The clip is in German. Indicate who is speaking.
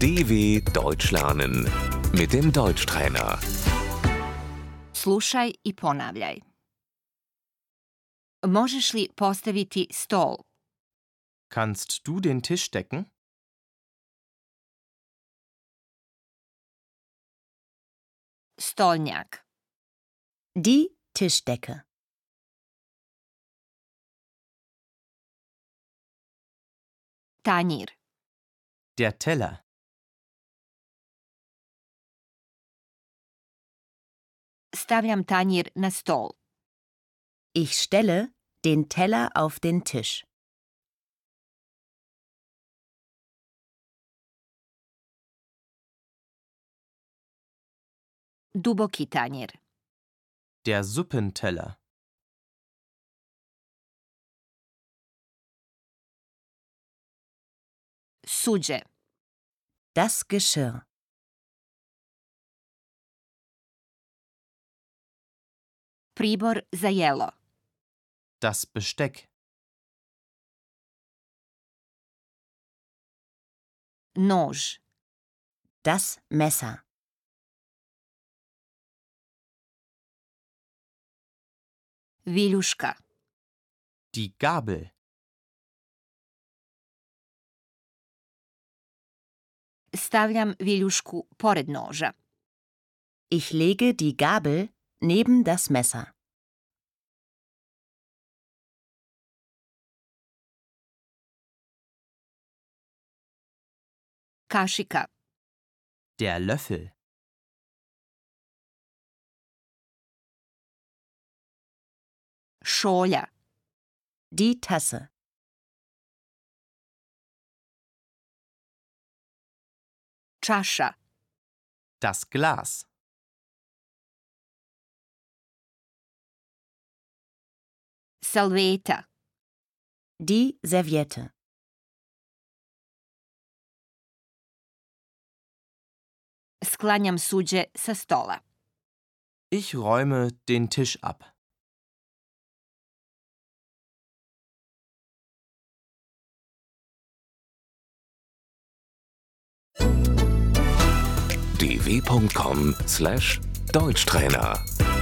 Speaker 1: DW Deutsch lernen mit dem Deutschtrainer.
Speaker 2: Slušaj i ponavljaj. Možeš li postaviti stol?
Speaker 3: Kannst du den Tisch decken?
Speaker 2: Stolnjak.
Speaker 4: Die Tischdecke.
Speaker 2: Tanjir.
Speaker 3: Der Teller.
Speaker 2: Stavljam tanjir na stol.
Speaker 4: Ich stelle den Teller auf den Tisch.
Speaker 2: Duboki tanjir.
Speaker 3: Der Suppenteller.
Speaker 2: Suđe.
Speaker 4: Das Geschirr.
Speaker 2: Pribor za jelo.
Speaker 3: Das Besteck.
Speaker 2: Nož.
Speaker 4: Das Messer.
Speaker 2: Viljuška.
Speaker 3: Die Gabel.
Speaker 2: Stavljam viljušku pored noža.
Speaker 4: Ich lege die Gabel neben das Messer.
Speaker 2: Kašika.
Speaker 3: Der Löffel.
Speaker 2: Šolja.
Speaker 4: Die Tasse.
Speaker 2: Čaša.
Speaker 3: Das Glas.
Speaker 2: Salveta.
Speaker 4: Die Serviette.
Speaker 2: Sklanjam suđe sa stola.
Speaker 3: Ich räume den Tisch ab.
Speaker 1: dw.com/deutschtrainer